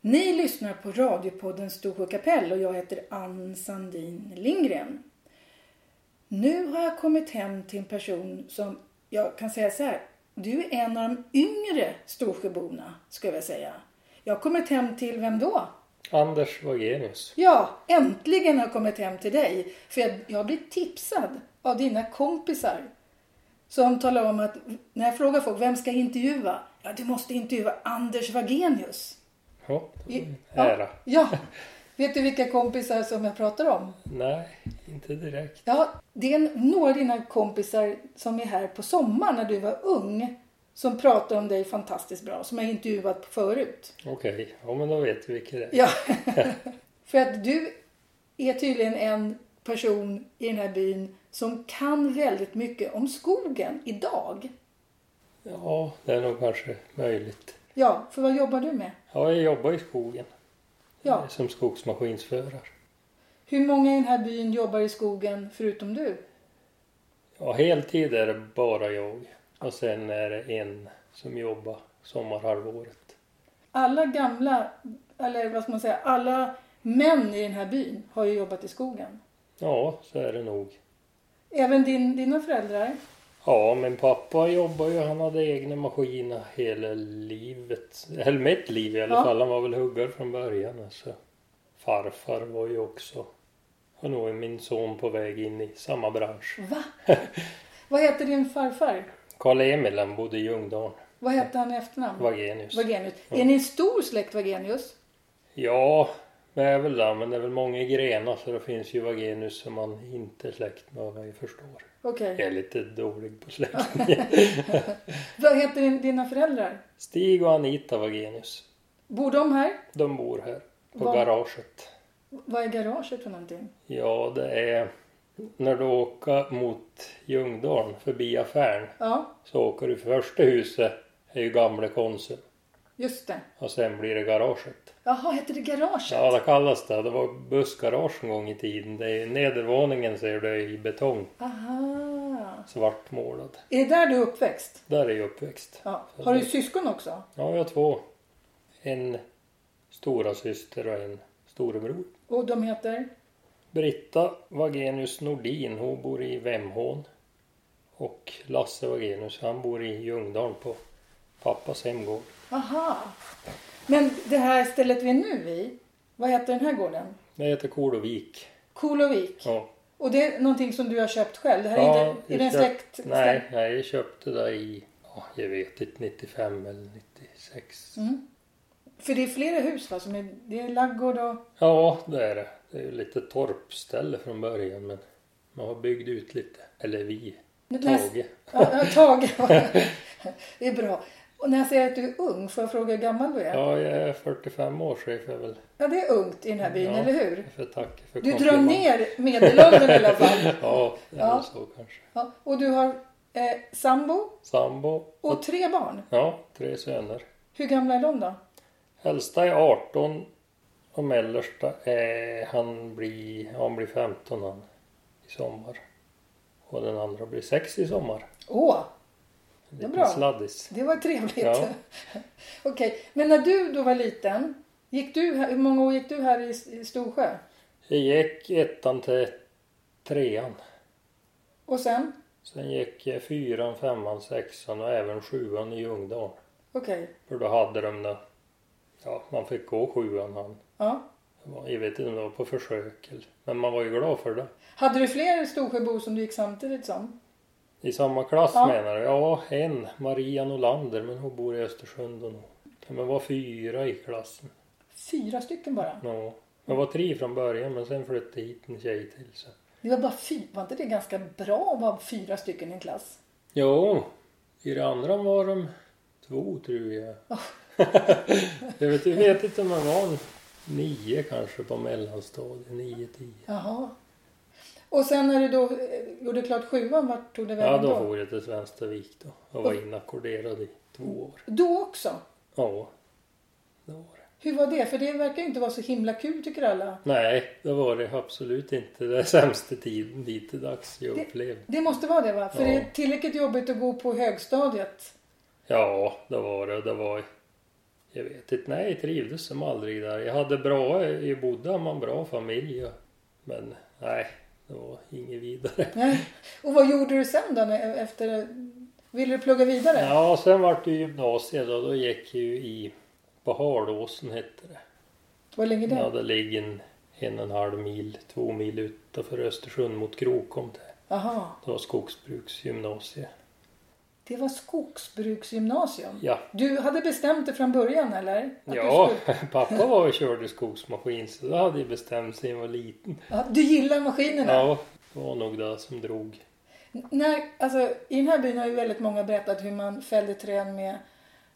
Ni lyssnar på radiopodden Storsjö kapell och jag heter Ann Sandin Lindgren. Nu har jag kommit hem till en person som, jag kan säga så här, du är en av de yngre Storsjöborna, skulle jag säga. Jag har kommit hem till vem då? Anders Wagenius. Ja, äntligen har jag kommit hem till dig. För jag, jag blev tipsad av dina kompisar. Som talar om att, när jag frågar folk, vem ska jag intervjua? Ja, du måste intervjua Anders Wagenius. Ja, det I- var en Ja, ära. ja. Vet du vilka kompisar som jag pratar om? Nej, inte direkt. Ja, det är några av dina kompisar som är här på sommaren när du var ung. Som pratar om dig fantastiskt bra, som jag intervjuat förut. Okej, ja men då vet vi vilka det är. Ja. För att du är tydligen en person i den här byn som kan väldigt mycket om skogen idag. Ja, det är nog kanske möjligt. Ja, för vad jobbar du med? Ja, jag jobbar i skogen. Ja. Som skogsmaskinsförare. Hur många i den här byn jobbar i skogen förutom du? Ja, heltid är det bara jag. Och sen är det en som jobbar sommarhalvåret. Alla gamla, eller vad ska man säga, alla män i den här byn har ju jobbat i skogen. Ja, så är det nog. Även din, dina föräldrar? Ja, min pappa jobbar ju. Han hade egna maskiner hela livet. Eller mitt liv i alla Ja. fall. Han var väl huggare från början. Alltså. Farfar var ju också... Och nu är min son på väg in i samma bransch. Va? vad heter din farfar? Karl-Emil, han bodde i Ljungdalen. Vad hette han i efternamn? Wagenius. Wagenius. Är ni en stor släkt Wagenius? Ja, det är väl det. Men det är väl många grenar så det finns ju Wagenius som man inte är släkt med vad jag förstår. Okej. Jag är lite dålig på släkt. Vad heter din, dina föräldrar? Stig och Anita Wagenius. Bor de här? De bor här. På Var- garaget. Vad är garaget för någonting? Ja, det är... När du åker mot Ljungdalen, förbi affären, Ja, så åker du för första huset, är ju gamla Konsum. just det. Och sen blir det garaget. Jaha, heter det garaget? Ja, det kallas det. Det var bussgarage en gång i tiden. Det är nedervåningen ser du i betong, Aha. svartmålad. Är det där du är uppväxt? Där är jag uppväxt. Ja. Har du syskon också? Ja, jag har två. En stora syster och en storebror. Och de heter? Britta Wagenius Nordin, hon bor i Vemhån. Och Lasse Wagenius, han bor i Ljungdalen på pappas hemgård. Aha. Men det här stället vi är nu i, vad heter den här gården? Det heter Kolovik. Kolovik. Ja. Och det är någonting som du har köpt själv? Det här är, inte, är det en jag köpt- släkt? Nej, nej, jag köpte det i, ja, jag vet inte, 95 eller 96. Mm. För det är flera hus va? Som är, det är laggård och... Ja, det är det. Det är ju lite torpställe från början men man har byggt ut lite. Eller vi, Tage. Ja, jag har tagit. Det är bra. Och när jag säger att du är ung, får jag fråga hur gammal du är? Ja, Ja, jag är 45 år så jag får väl det är ungt i den här byn, Ja. eller hur? jag får tacka för Du drar komplimangen. ner medelåldern i alla fall. Ja, det är Ja. väl så kanske. Ja, och du har eh, sambo Sambo. och tre barn. Ja, tre söner. Hur gamla är de då? Äldsta är 18 och mellersta är, han blir, ja, han blir 15 han, i sommar. Och den andra blir 6 i sommar. Åh, En Det är liten bra. sladdis. det var trevligt. Ja. Okej, men när du då var liten, gick du här, hur många år gick du här i, i Storsjö? Jag gick ettan till trean. Och sen? Sen gick jag fyran, femman, sexan och även sjuan i Ljungdalen. Okej, För då hade de det. Ja, man fick gå sjuan han. ja. Det var- Jag vet inte om det var på försök eller, men man var ju glad för det. Hade du fler Storsjöbor som du gick samtidigt som? I samma klass Ja. menar du? Ja, en. Maria Nolander, men hon bor i Östersund och nog. Ja, men var fyra i klassen. Fyra stycken bara. Ja. Jag var tre från början men sen flyttade hit en tjej till. Så. Det var bara fy, var inte det ganska bra att vara fyra stycken i en klass? Jo, i det andra var de två tror jag. jag, vet, jag vet inte hur många var en nio kanske på mellanstadiet, nio, tio. Jaha. Och sen när du då eh, gjorde klart sjuan, vart tog det Ja, vägen då då? for jag till Svenstavik då och var inackorderad i två år. Då också? Ja, det var det. Hur var det? För det verkar ju inte vara så himla kul tycker alla. Nej, det var det absolut inte. Det sämsta tiden dittills jag Det- upplevde. Det måste vara det va? För Ja. det är tillräckligt jobbigt att gå på högstadiet. Ja, det var det. Det var... Jag vet inte, nej jag trivdes som aldrig där. Jag hade bra, jag bodde med en bra familj. och- Men nej, det var inget vidare. Nej. Och vad gjorde du sen då? när- Efter... Ville du plugga vidare? Ja, sen vart det ju gymnasiet och då gick jag ju i, på Harlåsen hette det. Vad ligger det? Ja, det ligger en, en och en halv mil, två mil utanför Östersund mot Krokom. där. Aha. Det var skogsbruksgymnasiet. Det var skogsbruksgymnasium. Ja, Du hade bestämt dig från början eller? Att ja Du, skulle... pappa var och körde skogsmaskin så då hade jag bestämt sig när jag var liten. ja, du gillar maskinerna? Ja, det var nog det som drog. N- När, alltså, I den här byn har ju väldigt många berättat hur man fällde träd med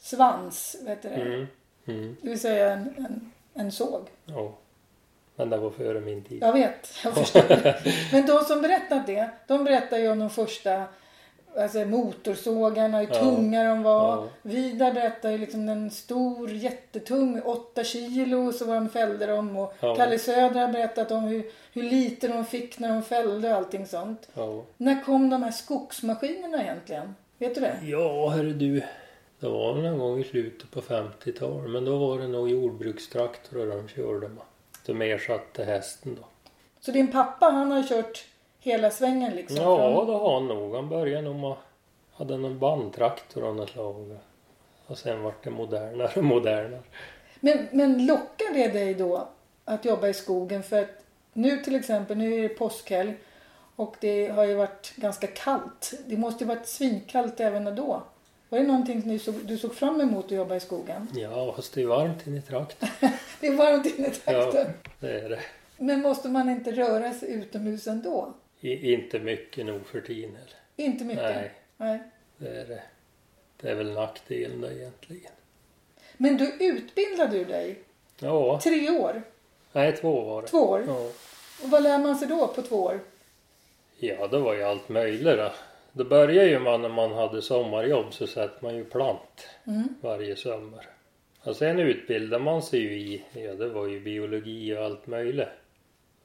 svans. Vet du det? Mm. Mm. det vill säga en, en, en såg. Ja. Men det var före min tid. Jag vet, jag förstår. Men de som berättat det, de berättar ju om de första alltså, motorsågarna, hur Ja. tunga de var. Ja. Vidar berättar ju liksom en stor jättetung, 8 kilo, så var de fällde dem. Och Ja. Kalle Söder har berättat om hur, hur lite de fick när de fällde och allting sånt. Ja. När kom de här skogsmaskinerna egentligen? Vet du det? Ja, herre du. Det var någon gång i slutet på 50-talet, men då var det nog jordbrukstraktorer de körde med. De ersatte hästen då. Så din pappa, han har kört hela svängen liksom? Ja, från- det har han nog. Han började nog med... Hade någon bandtraktor av något slag. Och sen vart det modernare och modernare. Men, men lockar det dig då att jobba i skogen? För att nu till exempel, nu är det påskhelg och det har ju varit ganska kallt. Det måste ju varit svinkallt även då. Var det någonting som du såg, du såg fram emot att jobba i skogen? Ja, fast det är varmt inne i traktorn. Det är varmt inne i traktorn. Ja, det är det. Men måste man inte röra sig utomhus ändå? I, inte mycket nog för tiden heller. Inte mycket. Nej, Nej. det är det. Det är väl nackdelen då egentligen. Men du utbildade ju dig. Ja, Tre år. nej två var det. Två år. Ja. Och vad lär man sig då på två år? Ja, det var ju allt möjligt. Då. Det började ju man när man hade sommarjobb så satte man ju plant Mm. varje sommar. Och sen utbildade man sig ju i, ja det var ju biologi och allt möjligt.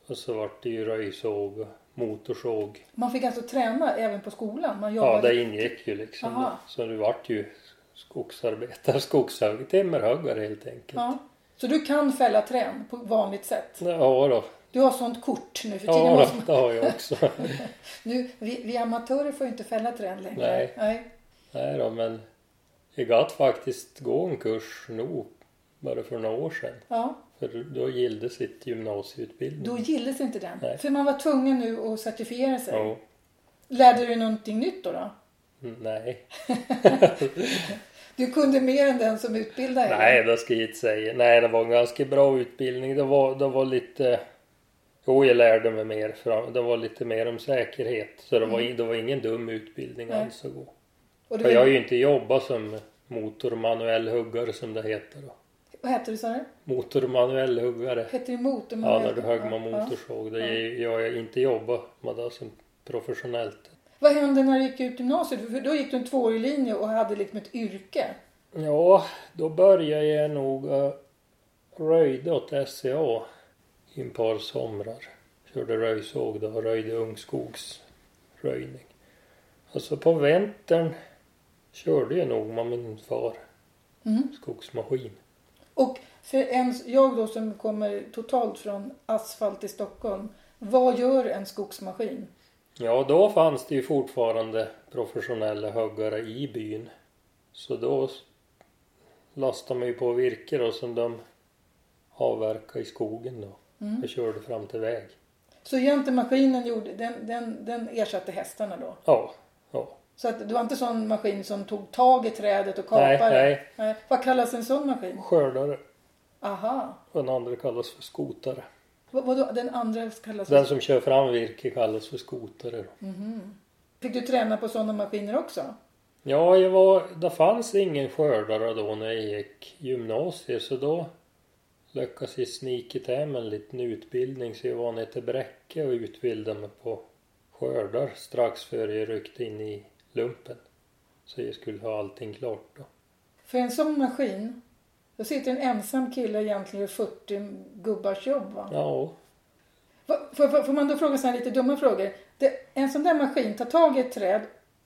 Och så vart det ju röjsåg och motorsåg. Man fick alltså träna även på skolan. Man jobbade... Ja, det ingick ju liksom. Aha. Så det vart ju skogsarbetare, skogshög, timmerhuggare helt enkelt. Ja. Typ. Så du kan fälla trän på vanligt sätt? Ja då, Du har sånt kort nu för tiden. ja, måste man, då det har jag också. nu, vi, vi amatörer får ju inte fälla trän längre. Nej. Nej då, men jag gatt faktiskt gå en kurs nog bara för några år sedan. Ja, För då gillde sitt gymnasieutbildning. då gilles inte den. Mm. Nej. För man var tvungen nu att certifiera sig. Ja, Lärde du dig någonting nytt då, då? mm, nej. Du kunde mer än den som utbildade dig. Nej, det ska jag inte säga. Nej, det var en ganska bra utbildning. Det var, det var lite... Jo, jag lärde mig mer. För det var lite mer om säkerhet. Så det var, i- det var ingen dum utbildning Mm. Nej. alls att gå. Och För du, jag har ju inte jobbat som motormanuell huggare som det heter då. Vad hette du, sa du? Motormanuell huggare. Hette det motor? Ja, när du högg med Ja. motorsåg. Det är ju- jag har ju inte jobbat med det som professionellt. Vad hände när du gick ut gymnasiet? För då gick du en tvåårig linje och hade liksom ett yrke. Ja, då började jag nog uh, röjde åt SCA i ett par somrar. Körde röjsåg då och röjde ungskogsröjning. Och så på vintern körde jag nog med min far Mm. skogsmaskin. Och för en, jag då som kommer totalt från asfalt i Stockholm. Vad gör en skogsmaskin? Ja, då fanns det ju fortfarande professionella huggare i byn. Så då s- lastade man ju på virke då som de avverkade i skogen då. Mm. Och körde fram till väg. Så jäntemaskinen gjorde, den, den, den ersatte hästarna då? Ja, ja. Så att det var inte sån maskin som tog tag i trädet och kapade Nej, det? nej. nej. Vad kallas en sån maskin? Skördare. Aha. Den andra kallas för skotare. Vad, vadå, den andra kallas Den som kör fram virke kallas för skotare. då. Fick du träna på såna maskiner också? Ja, jag var, det fanns ingen skördare då när jag gick gymnasiet så då lyckades jag snika hem en liten utbildning så jag var nere till Bräcke och utbildade mig på skördar strax före jag ryckte in i lumpen. Så jag skulle ha allting klart då. För en sån maskin, då sitter en ensam kille egentligen i 40 gubbars jobb va? Ja, Va- Får, får, får man då fråga såna här lite dumma frågor? Det, en sån där maskin tar tag i ett träd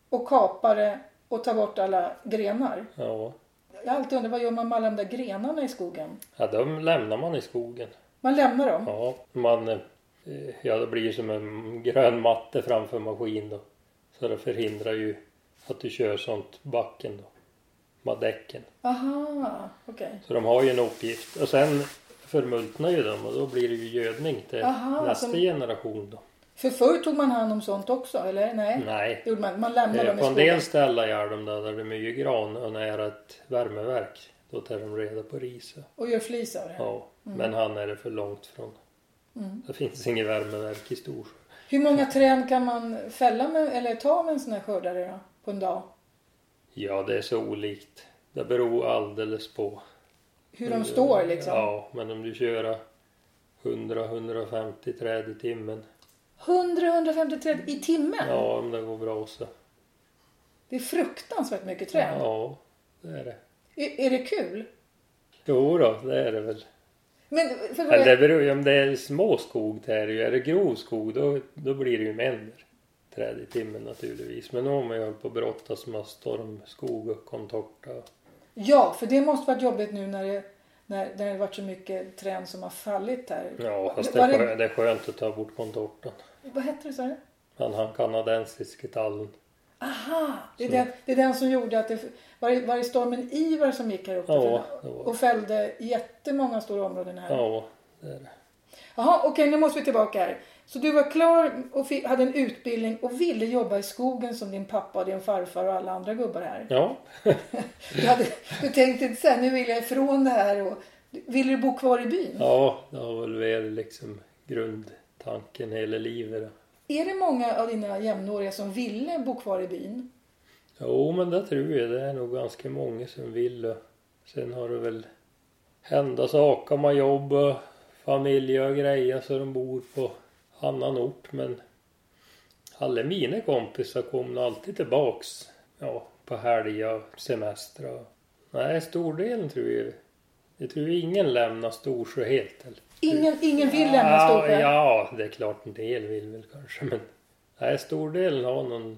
och kapar det och tar bort alla grenar. ja. Jag har alltid undrat vad gör man med alla de där grenarna i skogen? Ja, de lämnar man i skogen. Man lämnar dem. Ja, man, eh, ja det blir som en grön matte framför maskin då. Så det förhindrar ju att du kör sånt backen då. Med däcken. Aha, okej. Så de har ju en uppgift. Och sen förmultnar ju de och då blir det ju gödning till Aha, alltså- nästa som- generation då. För förr tog man hand om sånt också, eller? Nej. Nej. Det gjorde man. Man lämnade Mm. Eh, dem i På en skogen. del ställen gör de det där det är mycket gran och nära ett värmeverk. Då tar de reda på riset. Och gör flis av det. Ja, men han är det för långt från. Mm. Det finns inget värmeverk i Storsjö. Hur många träd kan man fälla med, eller ta med en sån här skördare då? På en dag? Ja, det är så olikt. Det beror alldeles på. Hur de står liksom? Mm, Ja, men om du kör 100-150 träd i timmen. 100-150 träd i timmen? Ja, om det går bra så. Det är fruktansvärt mycket träd. Ja, det är det. Är, är det kul? Jo då, det är det väl. Men för vad Eller jag, det beror ju om det är små skog det är det ju. Är det grov skog då, då blir det ju mängder träd i timmen naturligtvis. Men nu har man ju hållit på att brottas med stormskog och contorta. ja, för det måste varit jobbigt nu när det, när, när det varit så mycket träd som har fallit här. Ja, fast det Var är, det- skö- det är skönt att ta bort contortan. Vad hette det sa du? Han, han kanadensiske tallen. Aha! Det är, Så. den, det är den som gjorde att det var, det- var det stormen Ivar som gick här uppe Ja, för- det var och fällde jättemånga stora områden här. Ja, det är det. Jaha, okej nu måste vi tillbaka här. Så du var klar och fi- hade en utbildning och ville jobba i skogen som din pappa och din farfar och alla andra gubbar här. Ja, Du, hade, du tänkte inte så här, nu vill jag ifrån det här och ville du bo kvar i byn? ja, det har väl väl liksom grundtanken hela livet. Är det många av dina jämnåriga som ville bo kvar i byn? Jo, men det tror jag. Det är nog ganska många som vill. och Sen har det väl hända saker med jobb och familj och grejer så de bor på annan ort. Men alla mina kompisar kom nog alltid tillbaks. Ja, på helger och semestrar. Nej, stordelen tror jag. Jag tror ingen lämnar Storsjö helt. Eller? Ingen, ingen vill lämna ja, Storsjö? Ja, det är klart en del vill väl kanske men nej, stordelen har någon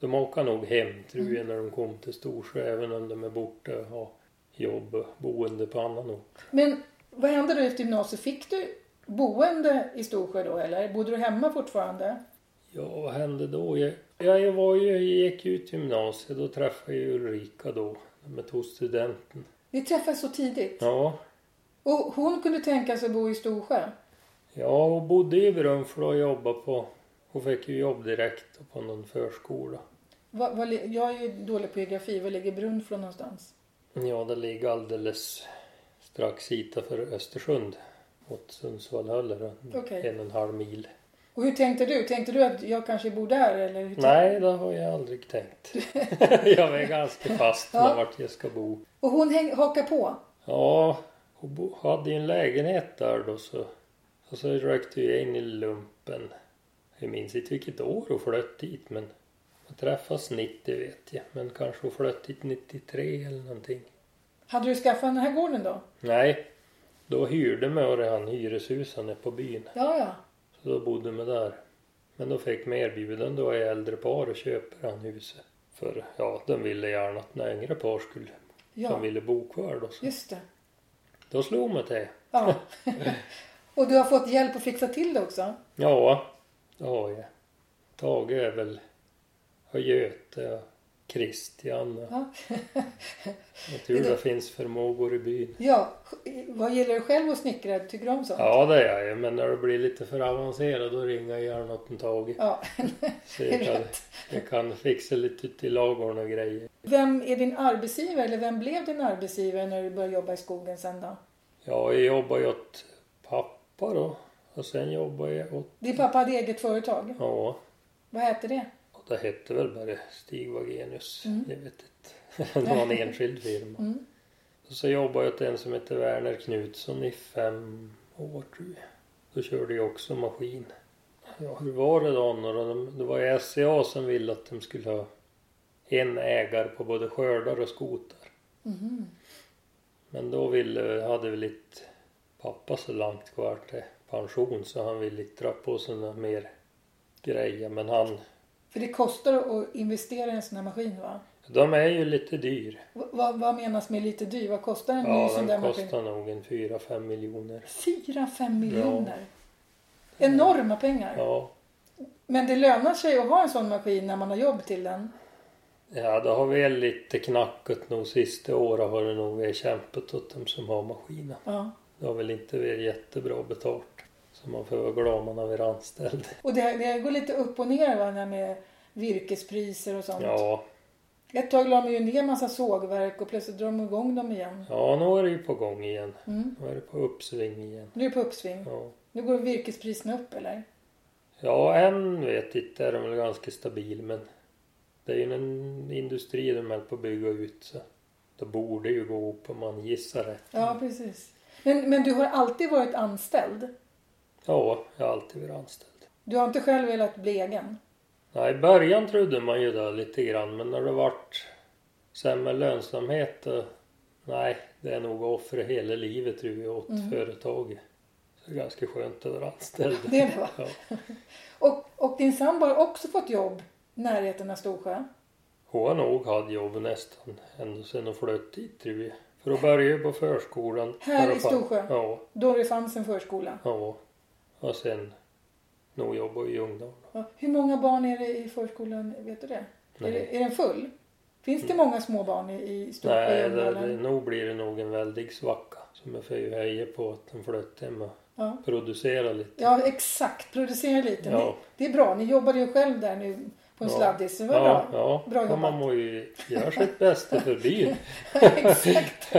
de åker nog hem tror jag när de kom till Storsjö även om de är borta och har jobb och boende på annan ort. Men vad hände då efter gymnasiet? Fick du boende i Storsjö då eller? Bodde du hemma fortfarande? Ja, vad hände då? Jag, ja, jag var ju, jag gick ut gymnasiet och träffade jag Ulrika då, med tog studenten. Ni träffades så tidigt. Ja, Och hon kunde tänka sig att bo i Storsjö? ja hon bodde i Brunflo och jobbade på, hon fick ju jobb direkt på någon förskola. Va, va, li- jag är ju dålig på geografi. Var ligger Brunflo någonstans? Ja, det ligger alldeles strax hit för Östersund. Åt Sundsvall håller Okej. en och en halv mil. Och hur tänkte du? Tänkte du att jag kanske bor där? Eller hur tänkte- Nej, det har jag aldrig tänkt. jag är ganska fast med Ja. vart jag ska bo. Och hon häng, hakar på? Ja, hon bo- hade ju en lägenhet där då så... Och så rökte jag in i lumpen. Jag minns inte vilket år hon flöt dit men... Hon träffas 90 vet jag, men kanske hon flöt dit 93 eller någonting. Hade du skaffat den här gården då? Nej, då hyrde man och han hyreshusen på byn. Ja, ja. Så då bodde man där. Men då fick man erbjudande av ett äldre par och köper han huset. För ja, de ville gärna att några yngre par skulle, som Ja, ville bo kvar då. Så. just det. Då slog man till. Ja. och du har fått hjälp att fixa till det också? Ja, det har jag. Tage är väl, och Göte och Christian. Och, Ja. jag tror det finns förmågor i byn. Ja. Vad gillar du själv att snickra? Tycker du om sånt? Ja, det är jag. Men när det blir lite för avancerat då ringer jag gärna åt en Tage. ja. Så det jag är kan, rätt. jag kan fixa lite till lagorn och grejer. Vem är din arbetsgivare eller vem blev din arbetsgivare när du började jobba i skogen sen då? Ja, jag jobbar ju åt pappa då. Och sen jobbar jag åt... Din pappa hade eget företag. Ja, Vad hette det? och det hette väl bara Stig Wagenius. Mm. Jag vet inte. Det var en enskild firma. Mm. Och så jobbade jag åt en som hette Werner Knutsson i fem år tror jag. Då körde jag också maskin. Ja, hur var det då? Anna? De- Det var ju SCA som ville att de skulle ha en ägare på både skördar och skoter. Mhm. Men då ville, hade väl inte pappa så långt kvar till pension så han ville inte dra på sig några mer grejer. Men han, För det kostar att investera i en sån här maskin va? De är ju lite dyr. V- vad, vad menas med lite dyr? Vad kostar en ny Ja, sån där den maskin? kostar nog en 4-5 miljoner. 4-5 miljoner. Enorma pengar. Ja. Men det lönar sig att ha en sån maskin när man har jobb till den. ja, det har väl lite knackat nog sista året har det nog varit kämpat åt dem som har maskinen. Ja. Det har väl inte varit jättebra betalt. Så man får vara glad man har varit anställd. Och det, det går lite upp och ner va, när med virkespriser och sånt. Ja, Ett tag la de ju ner massa sågverk och plötsligt drar de igång dem igen. ja nu är det ju på gång igen. Mm. Nu är det på uppsving igen. Nu är det på uppsving. Ja. Nu går virkespriserna upp eller? Ja, än vet inte. Är de väl ganska stabil, men det är ju en industri de håller på att bygga ut. Så det borde ju gå upp om man gissar rätt. Ja, precis. Men, men du har alltid varit anställd? Ja, jag har alltid varit anställd. Du har inte själv velat bli egen? Nej, I början trodde man ju det lite grann, men när det vart sämre lönsamhet då, Nej, det är nog att offra hela livet tror jag åt Mm. företaget. Så det är ganska skönt att vara anställd. Det är det va? Ja. Och, och din sambo har också fått jobb i närheten av Storsjö? Hon har nog haft jobb nästan ända sedan hon flöt dit tror jag. För att börja på förskolan. Här Bara i fan- Storsjö? Ja, Då det fanns en förskola? ja. Och sen nog jobbar i Ljungdal. Ja. Hur många barn är det i förskolan? Vet du det? Är, Nej, Mm. det, är den full? Finns det många små barn i, i Storsjö? i Nej det, det, Ljungdalen? nog blir det nog en väldig svacka. Som jag får ju heja på att de flöt hem och Ja. producerar lite. ja, exakt. Producera lite. Ja. Ni, det är bra. Ni jobbade ju själv där nu på en Ja. sladdis. Det var ja, bra. ja. Bra ja, jobbat. man må ju göra sitt bästa för byn. exakt.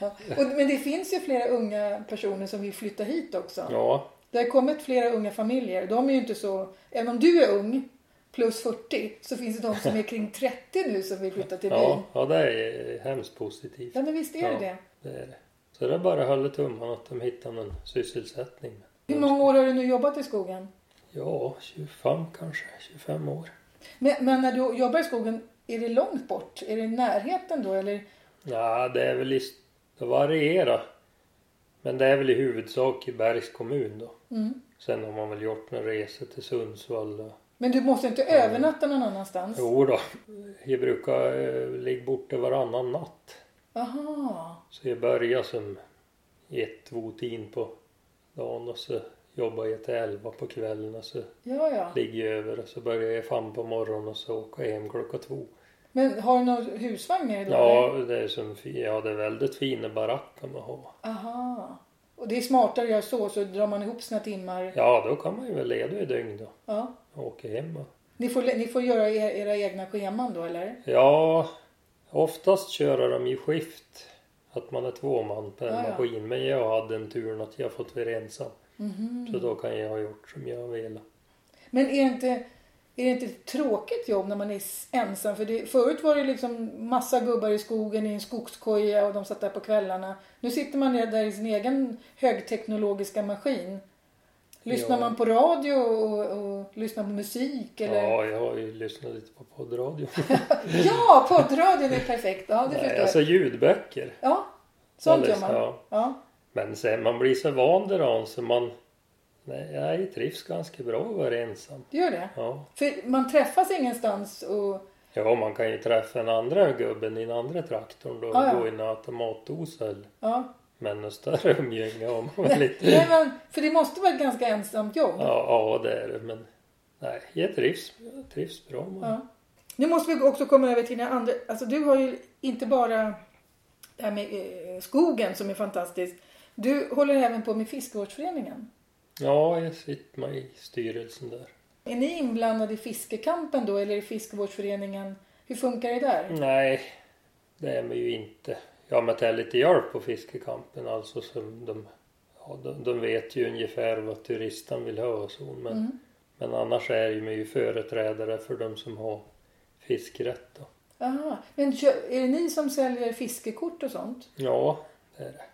Ja. Och, men det finns ju flera unga personer som vill flytta hit också. Ja, Det har kommit flera unga familjer. De är ju inte så... Även om du är ung, plus 40, så finns det de som är kring 30 nu som vill flytta till byn. ja, Ja, ja, det är hemskt positivt. men visst är det Ja. det. Det är det. Så det är bara att hålla tummarna att de hittar någon sysselsättning. Hur många år har du nu jobbat i skogen? Ja, 25 kanske, 25 år. Men, men när du jobbar i skogen, är det långt bort? Är det i närheten då? Eller? Ja, det är väl i, det varierar. Men det är väl i huvudsak i Bergs kommun då. Mm. Sen har man väl gjort några resor till Sundsvall. och- Men du måste inte övernatta någon annanstans? Jo då, jag brukar eh, ligga borta varannan natt. Aha. Så jag börjar som ett votin på dagen och så jobbar jag till elva på kvällen och så Ja, ja. ligger jag över och så börjar jag fan på morgonen och så åker jag hem klockan två. Men har du någon husvagn nere då? Ja, det är som, fi- ja, det är väldigt fina baracker man har. Aha. Och det är smartare att göra så, så drar man ihop sina timmar. Ja, då kan man ju väl leda i dygn då. Ja. och åka hem och... Ni, får, ni får göra er, era egna scheman då, eller? Ja, oftast kör de i skift. Att man är två man per Ja, ja. maskin. Men jag hade den turen att jag fått vara ensam. Mhm. Så då kan jag ha gjort som jag velat. Men är det, inte, är det inte ett tråkigt jobb när man är s- ensam? För det, förut var det liksom massa gubbar i skogen i en skogskoja och de satt där på kvällarna. Nu sitter man där i sin egen högteknologiska maskin. Lyssnar Ja. man på radio och, och lyssnar på musik eller? Ja, Ja, jag har ju lyssnat lite på poddradio. poddradion är perfekt. Ja, det förstår Nej, jag. alltså ljudböcker. Ja, sånt Jag gör lyssnar, man. ja. Ja. Men sen man blir så van vid dem så man... Nej, jag trivs ganska bra att vara ensam. Det gör det. Ja. För man träffas ingenstans och... ja, man kan ju träffa den andra gubben i den andra traktorn då. Ja, ja. Gå in och äta matdosa eller... Ja. Men något större umgänge har man väl inte. Nej, men, för det måste vara ett ganska ensamt jobb. Ja, ja det är det. Men nej, jag trivs, jag trivs bra med det. Ja. Nu måste vi också komma över till den andra... Alltså du har ju inte bara det här med eh, skogen som är fantastisk. Du håller även på med fiskevårdsföreningen. Ja, jag sitter med i styrelsen där. Är ni inblandade i fiskekampen då eller i fiskevårdsföreningen? Hur funkar det där? Nej, det är man ju inte. Ja, men det är lite hjälp på fiskekampen alltså som de, ja, de, de vet ju ungefär vad turisten vill ha och så. Men, Mm. men annars är ju man ju företrädare för de som har fiskrätt då. Aha. Men kö- är det ni som säljer fiskekort och sånt? Ja, det är det.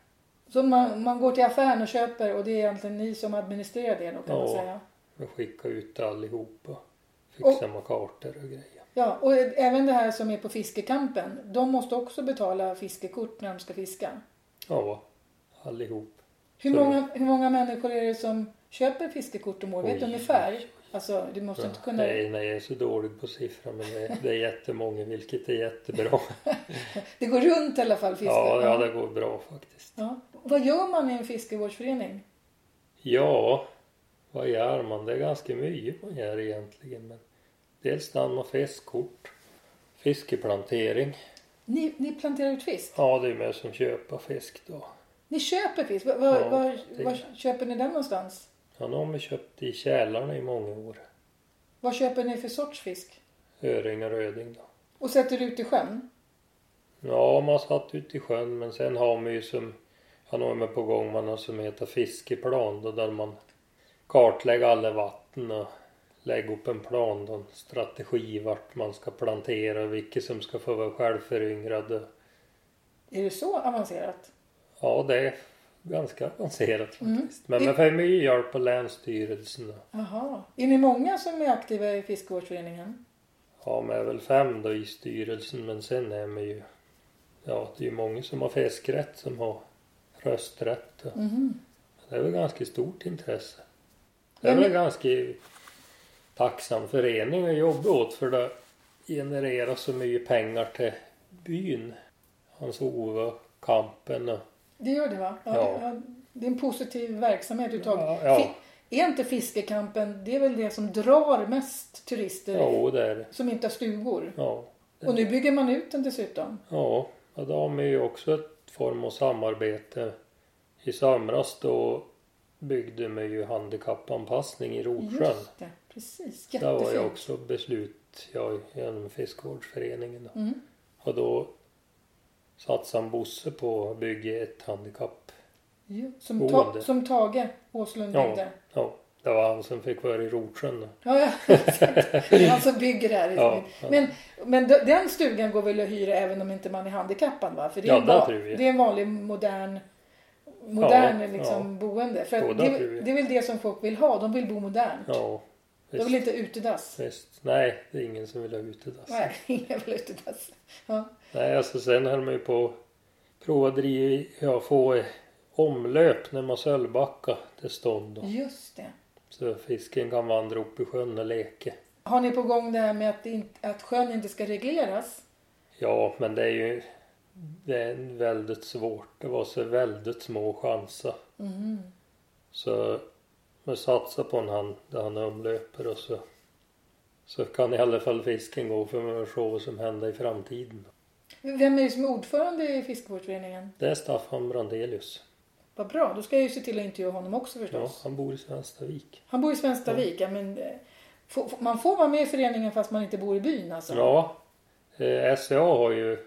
Så man, man går till affären och köper och det är egentligen ni som administrerar det då kan man Ja. säga? Man skickar ut allihop och fixar med kartor och grejer. Ja, och även det här som är på fiskekampen. De måste också betala fiskekort när de ska fiska. Ja, allihop. Hur, Så- många, hur många människor är det som köper fiskekort om året? Vet du Oj, ungefär? oj, oj. Alltså, du måste inte kunna... Nej, nej, jag är så dålig på siffror men det, det är jättemånga vilket är jättebra. Det går runt i alla fall, fisket. Ja, ja, det går bra faktiskt. Ja. Vad gör man i en fiskevårdsförening? Ja, vad gör man? Det är ganska mycket man gör egentligen. Men dels dammar fiskkort, fiskeplantering. Ni, ni planterar ut fisk? Ja, det är med som köper fisk då. Ni köper fisk? Var, var, Ja, var, det- var köper ni den någonstans? Ja, nu har man köpt i kälarna i många år. Vad köper ni för sorts fisk? Öring och röding då. Och sätter ut i sjön? Ja, man satt ute i sjön men sen har man ju som, han har med på gång, man har som heter fiskeplan då där man kartlägger alla vatten och lägger upp en plan då, en strategi vart man ska plantera, vilket som ska få vara självföryngrade. Är det så avancerat? Ja, det är ganska avancerat faktiskt. Mm. Men man får mycket hjälp av Länsstyrelsen. och- Jaha. Är ni många som är aktiva i fiskevårdsföreningen? Ja, man är väl fem då i styrelsen men sen är man ju, ja det är ju många som har fiskrätt som har rösträtt. Och, Mhm. Det är väl ganska stort intresse. Det Ja, är väl men- en ganska tacksam förening att jobba åt för det genererar så mycket pengar till byn. Hans Ove och kampen och... Det gör det va? Ja. det- Det är en positiv verksamhet du tagit. Ja, ja. Fi- Är inte fiskekampen, det är väl det som drar mest turister Jo, det är det. som inte har stugor? Ja. Och Mm. nu bygger man ut den dessutom. Ja, och då har man ju också ett form av samarbete. I somras då byggde man ju handikappanpassning i Rotsjön. Just det, precis. Där var ju Jättefint. också beslut ja, genom fiskevårdsföreningen. då. Mm. Och då satsade han Bosse på att bygga ett handikapp. Jo, Som, ta, Boende. som Tage Åslund Ja. byggde. Ja, det var han som fick vara i Rotsjön. då. Ja, ja. exakt. Det är han som bygger det här. i Ja, sin- Men, men d- den stugan går väl att hyra även om inte man är handikappad? Va? För det är, Ja, en, där va- tror vi. det är en vanlig modern, modern Ja, liksom, boende. För Jo, att där det, tror vi. det är väl det som folk vill ha. De vill bo modernt. Ja, De vill visst, inte utedass. visst. Nej, det är ingen som vill ha utedass. Nej, ingen vill utedass. Ja. Nej, alltså sen höll man ju på att prova att driva, ja, få omlöp när man Sölvbacka till stånd. Då. Just det. Så fisken kan vandra upp i sjön och leka. Har ni på gång det här med att, det inte, att sjön inte ska regleras? Ja, men det är ju det är väldigt svårt. Det var så väldigt små chanser. Mhm. Så man satsar på en hand där han omlöper och så, så kan i alla fall fisken gå för man får se vad som händer i framtiden. Mm. Vem är det som är ordförande i fiskevårdsföreningen? Det är Staffan Brandelius. Vad bra, då ska jag ju se till att intervjua honom också Ja, förstås. han bor i Svenstavik. Han bor i Svenstavik, ja. men eh, får- får- man får vara med i föreningen fast man inte bor i byn alltså? Ja, eh, SCA har ju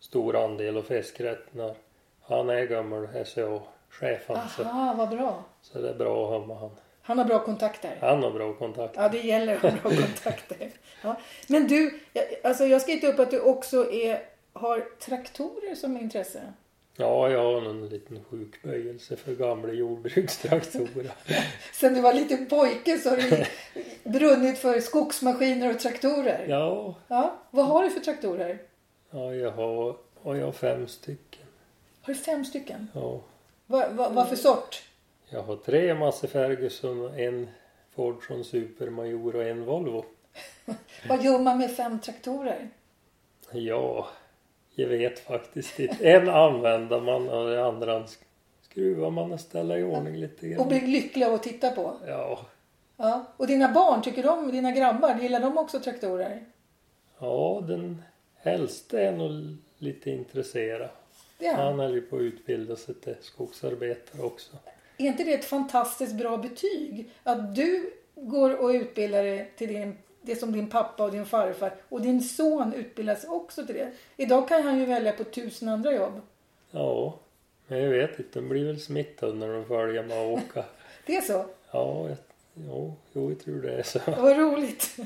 stor andel av fiskrätt när han är gammal SCA-chef alltså. Aha, vad bra. Så Så det är bra att ha med han. Han har bra kontakter. Han har bra kontakt. Ja, det gäller att ha bra kontakter. Ja. Men du, jag, alltså jag ska inte upp att du också är, har traktorer som intresse. Ja, jag har en liten sjukböjelse för gamla jordbrukstraktorer. Sen du var liten pojke så har du brunnit för skogsmaskiner och traktorer. Ja, Ja. Vad har du för traktorer? ja jag har, och jag har fem stycken. Har du fem stycken? Ja, Vad, vad, vad för sort? jag har tre Massey Ferguson, en Fordson Supermajor och en Volvo. Vad gör man med fem traktorer? Ja, jag vet faktiskt inte. En använder man och den andra skruvar man och ställer i ordning lite Och grann. blir lycklig av att titta på. Ja, Ja. Och dina barn, tycker de, dina grabbar, gillar de också traktorer? ja den äldste är nog lite intresserad. Det är han. Han höll ju på att utbilda sig till skogsarbetare också. Är inte det ett fantastiskt bra betyg? Att du går och utbildar dig till din, det som din pappa och din farfar och din son utbildas också till det. Idag kan han ju välja på tusen andra jobb. Ja, men jag vet inte. De blir väl smittade när de följer med och åka. Det är så. Ja, jag, jo, jo, jag tror det är så. Vad roligt.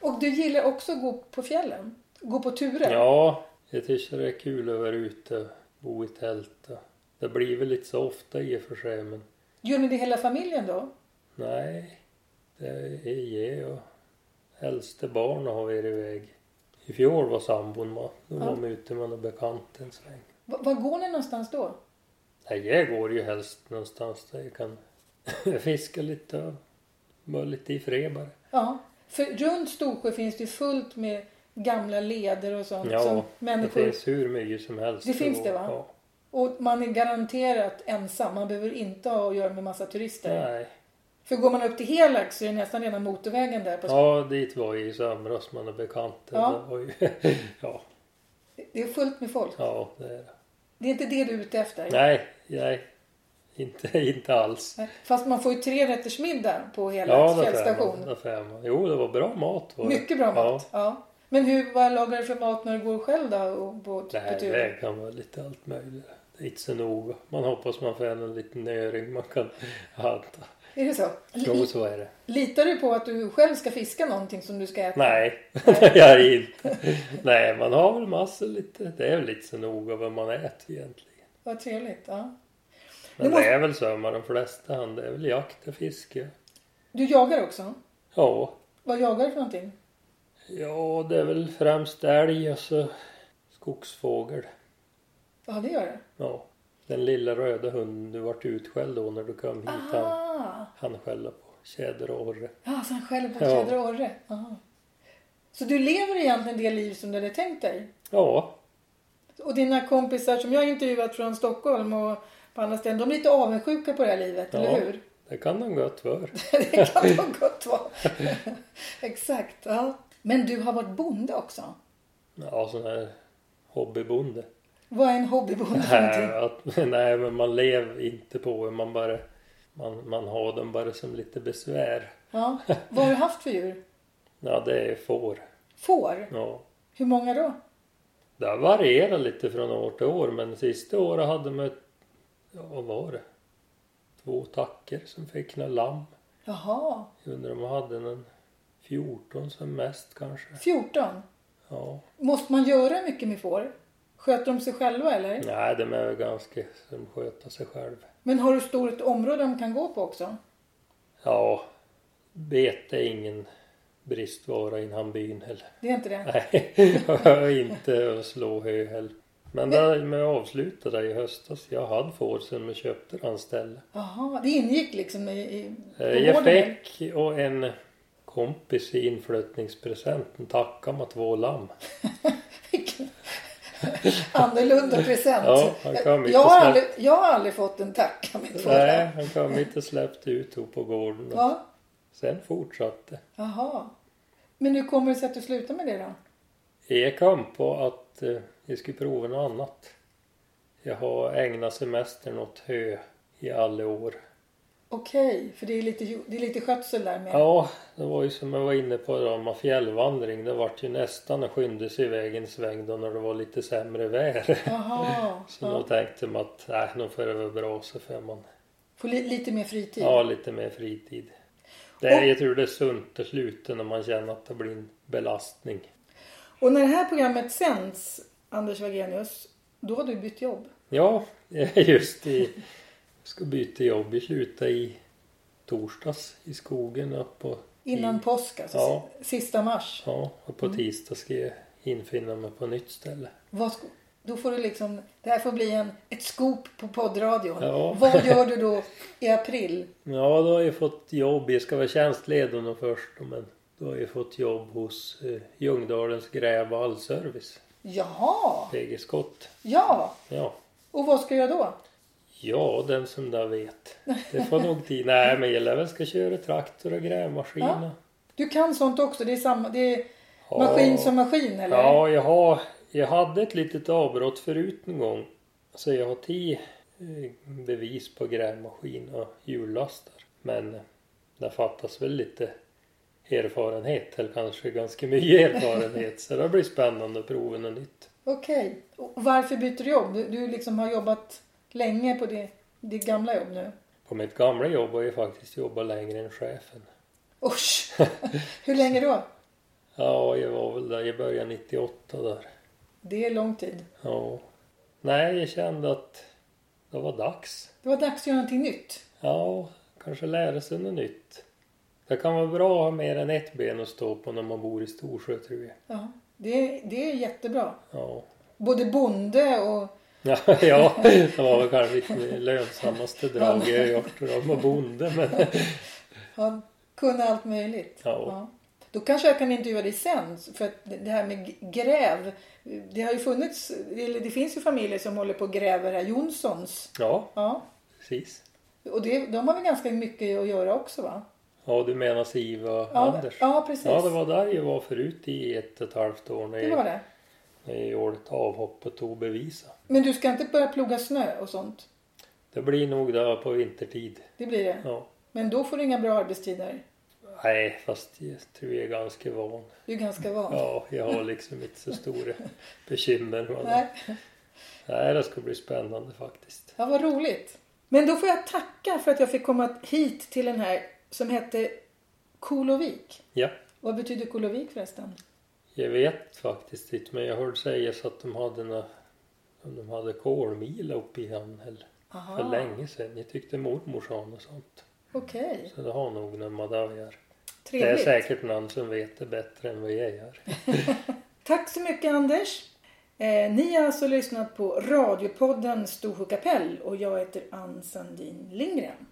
och du gillar också att gå på fjällen? Gå på turer? Ja, jag tycker det är kul att vara ute och bo i tält. och- Det blir väl inte så ofta i och för sig, men Gör ni det hela familjen då? nej. Det är jag och äldste barn har varit iväg. I fjol var sambon med. Då var Ja. man ute med någon bekant en sväng. Va- Var går ni någonstans då? Nej, jag går ju helst någonstans där jag kan fiska lite och mullet i Freberg. Ja, för runt Storsjö finns det ju fullt med gamla leder och sånt. som Ja, det människor... finns hur mycket som helst. Det finns Och- det, va? Ja. Och man är garanterat ensam. Man behöver inte ha att göra med massa turister. Nej. För går man upp till Helax så är det nästan rena motorvägen där. På Ja, dit var jag i somras med några bekanta. Ja. Det var ju... ja, Det är fullt med folk. ja, det är det. Det är inte det du är ute efter. Nej, nej. Inte, inte alls. Nej. Fast man får ju tre rätters middag på Helax Ja, det fjällstation. fem, fem. Jo, det var bra mat. Var det. Mycket bra Ja. mat. Ja. Men hur, vad lagar du för mat när du går själv då? Och på, på Nej, tur? det kan vara lite allt möjligt. Det är inte så noga. Man hoppas man får en liten öring man kan hanta. Är det så? Jo, Li- så är det. litar du på att du själv ska fiska någonting som du ska äta? Nej, det gör jag inte. Nej, man har väl massor lite. Det är väl lite så noga vad man äter egentligen. Vad trevligt. Ja. Men Det måste- det är väl så med de flesta. hand. Det är väl jakt och fiske. Du jagar också? Ja, Vad jagar du för någonting? ja det är väl främst älg och så skogsfågel. Ja, det gör du. Ja. Den lilla röda hunden du vart utskälld då när du kom hit. Han, Ah, han skällde på tjäder och orre. ja, så han skäller på Ja. tjäder och orre. Aha. Så du lever egentligen det liv som du hade tänkt dig? Ja, Och dina kompisar som jag har intervjuat från Stockholm och på andra ställen, de är lite avundsjuka på det här livet, Ja. eller hur? det kan de gott vara. Det kan de gott vara. Exakt. Ja. Men du har varit bonde också. Ja, sån här hobbybonde. Vad är en hobbybonde för Nej, någonting? att, nej, men man lever inte på det. Man bara... Man, man har dem bara som lite besvär. Ja. Vad har du haft för djur? Ja, det är får. Får? Ja. Hur många då? Det har varierat lite från år till år, men sista året hade man... ett- Ja, vad var det? Två tacker som fick några lamm. Jaha, Jag undrar om man hade en 14 som mest kanske. 14. Ja. Måste man göra mycket med får? Sköter de sig själva eller? Nej, de är väl ganska som sköter sig själv. Men har du stort område de kan gå på också? Ja, bete är ingen bristvara innan byn heller. Det är inte det? Nej, jag har inte att slå hö heller. Men där med jag avslutade i höstas. Jag hade får sedan jag köpte hans ställe. Jaha, det ingick liksom i... i på Eh, Jag gården, eller? fick och en kompis i inflyttningspresenten tacka med två lamm. Vilken annorlunda present. Ja, han kom hit jag, och har snabbt. aldrig, jag har aldrig fått en tacka med två Nej, lamm. han kom inte och släppte ut henne på gården. Och Ja, sen fortsatte. jaha. Men hur kommer det sig att du slutar med det då? Jag kom på att eh, jag skulle prova något annat. Jag har ägnat semestern åt hö i alla år. Okej, för det är, lite, ju- det är lite skötsel där med. Ja, det var ju som jag var inne på då med fjällvandring. Det vart ju nästan att skynda sig iväg en sväng då när det var lite sämre väder. Jaha. Så då Ja. tänkte man att nej, nu får det vara bra så får man Få li, lite mer fritid. ha lite mer fritid. Det är, Och- jag tror det är sunt att sluta när man känner att det blir en belastning. Och när det här programmet sänds, Anders Wagenius, då har du bytt jobb. Ja, just i... Jag ska byta jobb. Jag slutade i torsdags i skogen och på, Innan Mm. påsk, alltså Ja. si- sista mars. ja, och Mm. på tisdag ska jag infinna mig på nytt ställe. Vad, sk- då får du liksom, det här får bli en, ett scoop på poddradion. Ja. Vad gör du då i april? Ja, då har jag fått jobb. Jag ska vara tjänstledig nu först. Men då har jag fått jobb hos eh, Ljungdalens gräv och allservice. Jaha, PG Skott. ja. Ja. Och vad ska jag göra då? ja, den som där vet. Det får nog tid. Nej, men jag lär väl ska köra traktor och grävmaskin. Ja, Du kan sånt också? Det är, samma, det är Ja. maskin som maskin eller? Ja, jag, har, jag hade ett litet avbrott förut en gång. Så jag har tio eh, bevis på grävmaskin och hjullastare. Men det fattas väl lite erfarenhet, eller kanske ganska mycket erfarenhet. Så det blir spännande att prova något nytt. Okej. Och Varför byter du jobb? Du, du liksom har jobbat länge på det, ditt gamla jobb nu. På mitt gamla jobb har jag faktiskt jobbat längre än chefen. Usch! Hur länge då? Ja, jag var väl där, jag började 98 där. Det är lång tid. Ja. Nej, jag kände att det var dags. Det var dags att göra någonting nytt. Ja, kanske lära sig något nytt. Det kan vara bra att ha mer än ett ben att stå på när man bor i Storsjö tror jag. Ja, det, det är jättebra. Ja, Både bonde och... ja, ja det var väl kanske inte det lönsammaste drag jag har gjort. Då. Man var bonde men Ja, Kunna allt möjligt. Ja. Då kanske jag kan intervjua dig sen. För att det här med gräv. Det har ju funnits, eller det finns ju familjer som håller på och gräver här. Jonssons. Ja, Ja. precis. Och det, de har väl ganska mycket att göra också va? Ja, du menar Siva och Ja, Anders? ja precis. Ja, det var där jag var förut i ett och ett halvt år när Det var jag, det. när jag gjorde ett avhopp och tog bevisa. Men du ska inte börja ploga snö och sånt? Det blir nog där på vintertid. Det blir det. Ja. Men då får du inga bra arbetstider. Nej, fast jag tror jag är ganska van. Du är ganska van. Ja, jag har liksom inte så stora bekymmer med det. Nej. Nej, det ska bli spännande faktiskt. Ja, vad roligt. Men då får jag tacka för att jag fick komma hit till den här som hette Kolovik. Ja, Vad betyder Kolovik förresten? jag vet faktiskt inte, men jag hörde sägas att de hade nå- om de hade kolmila uppe i Hamnhäll Aha, för länge sedan. Jag tyckte mormor sa något sånt. Okej, Så det har nog någon madajar. Det är trevligt. säkert någon som vet det bättre än vad jag gör. Tack så mycket Anders. Eh, ni har alltså lyssnat på radiopodden Storsjö kapell och jag heter Ann Sandin Lindgren.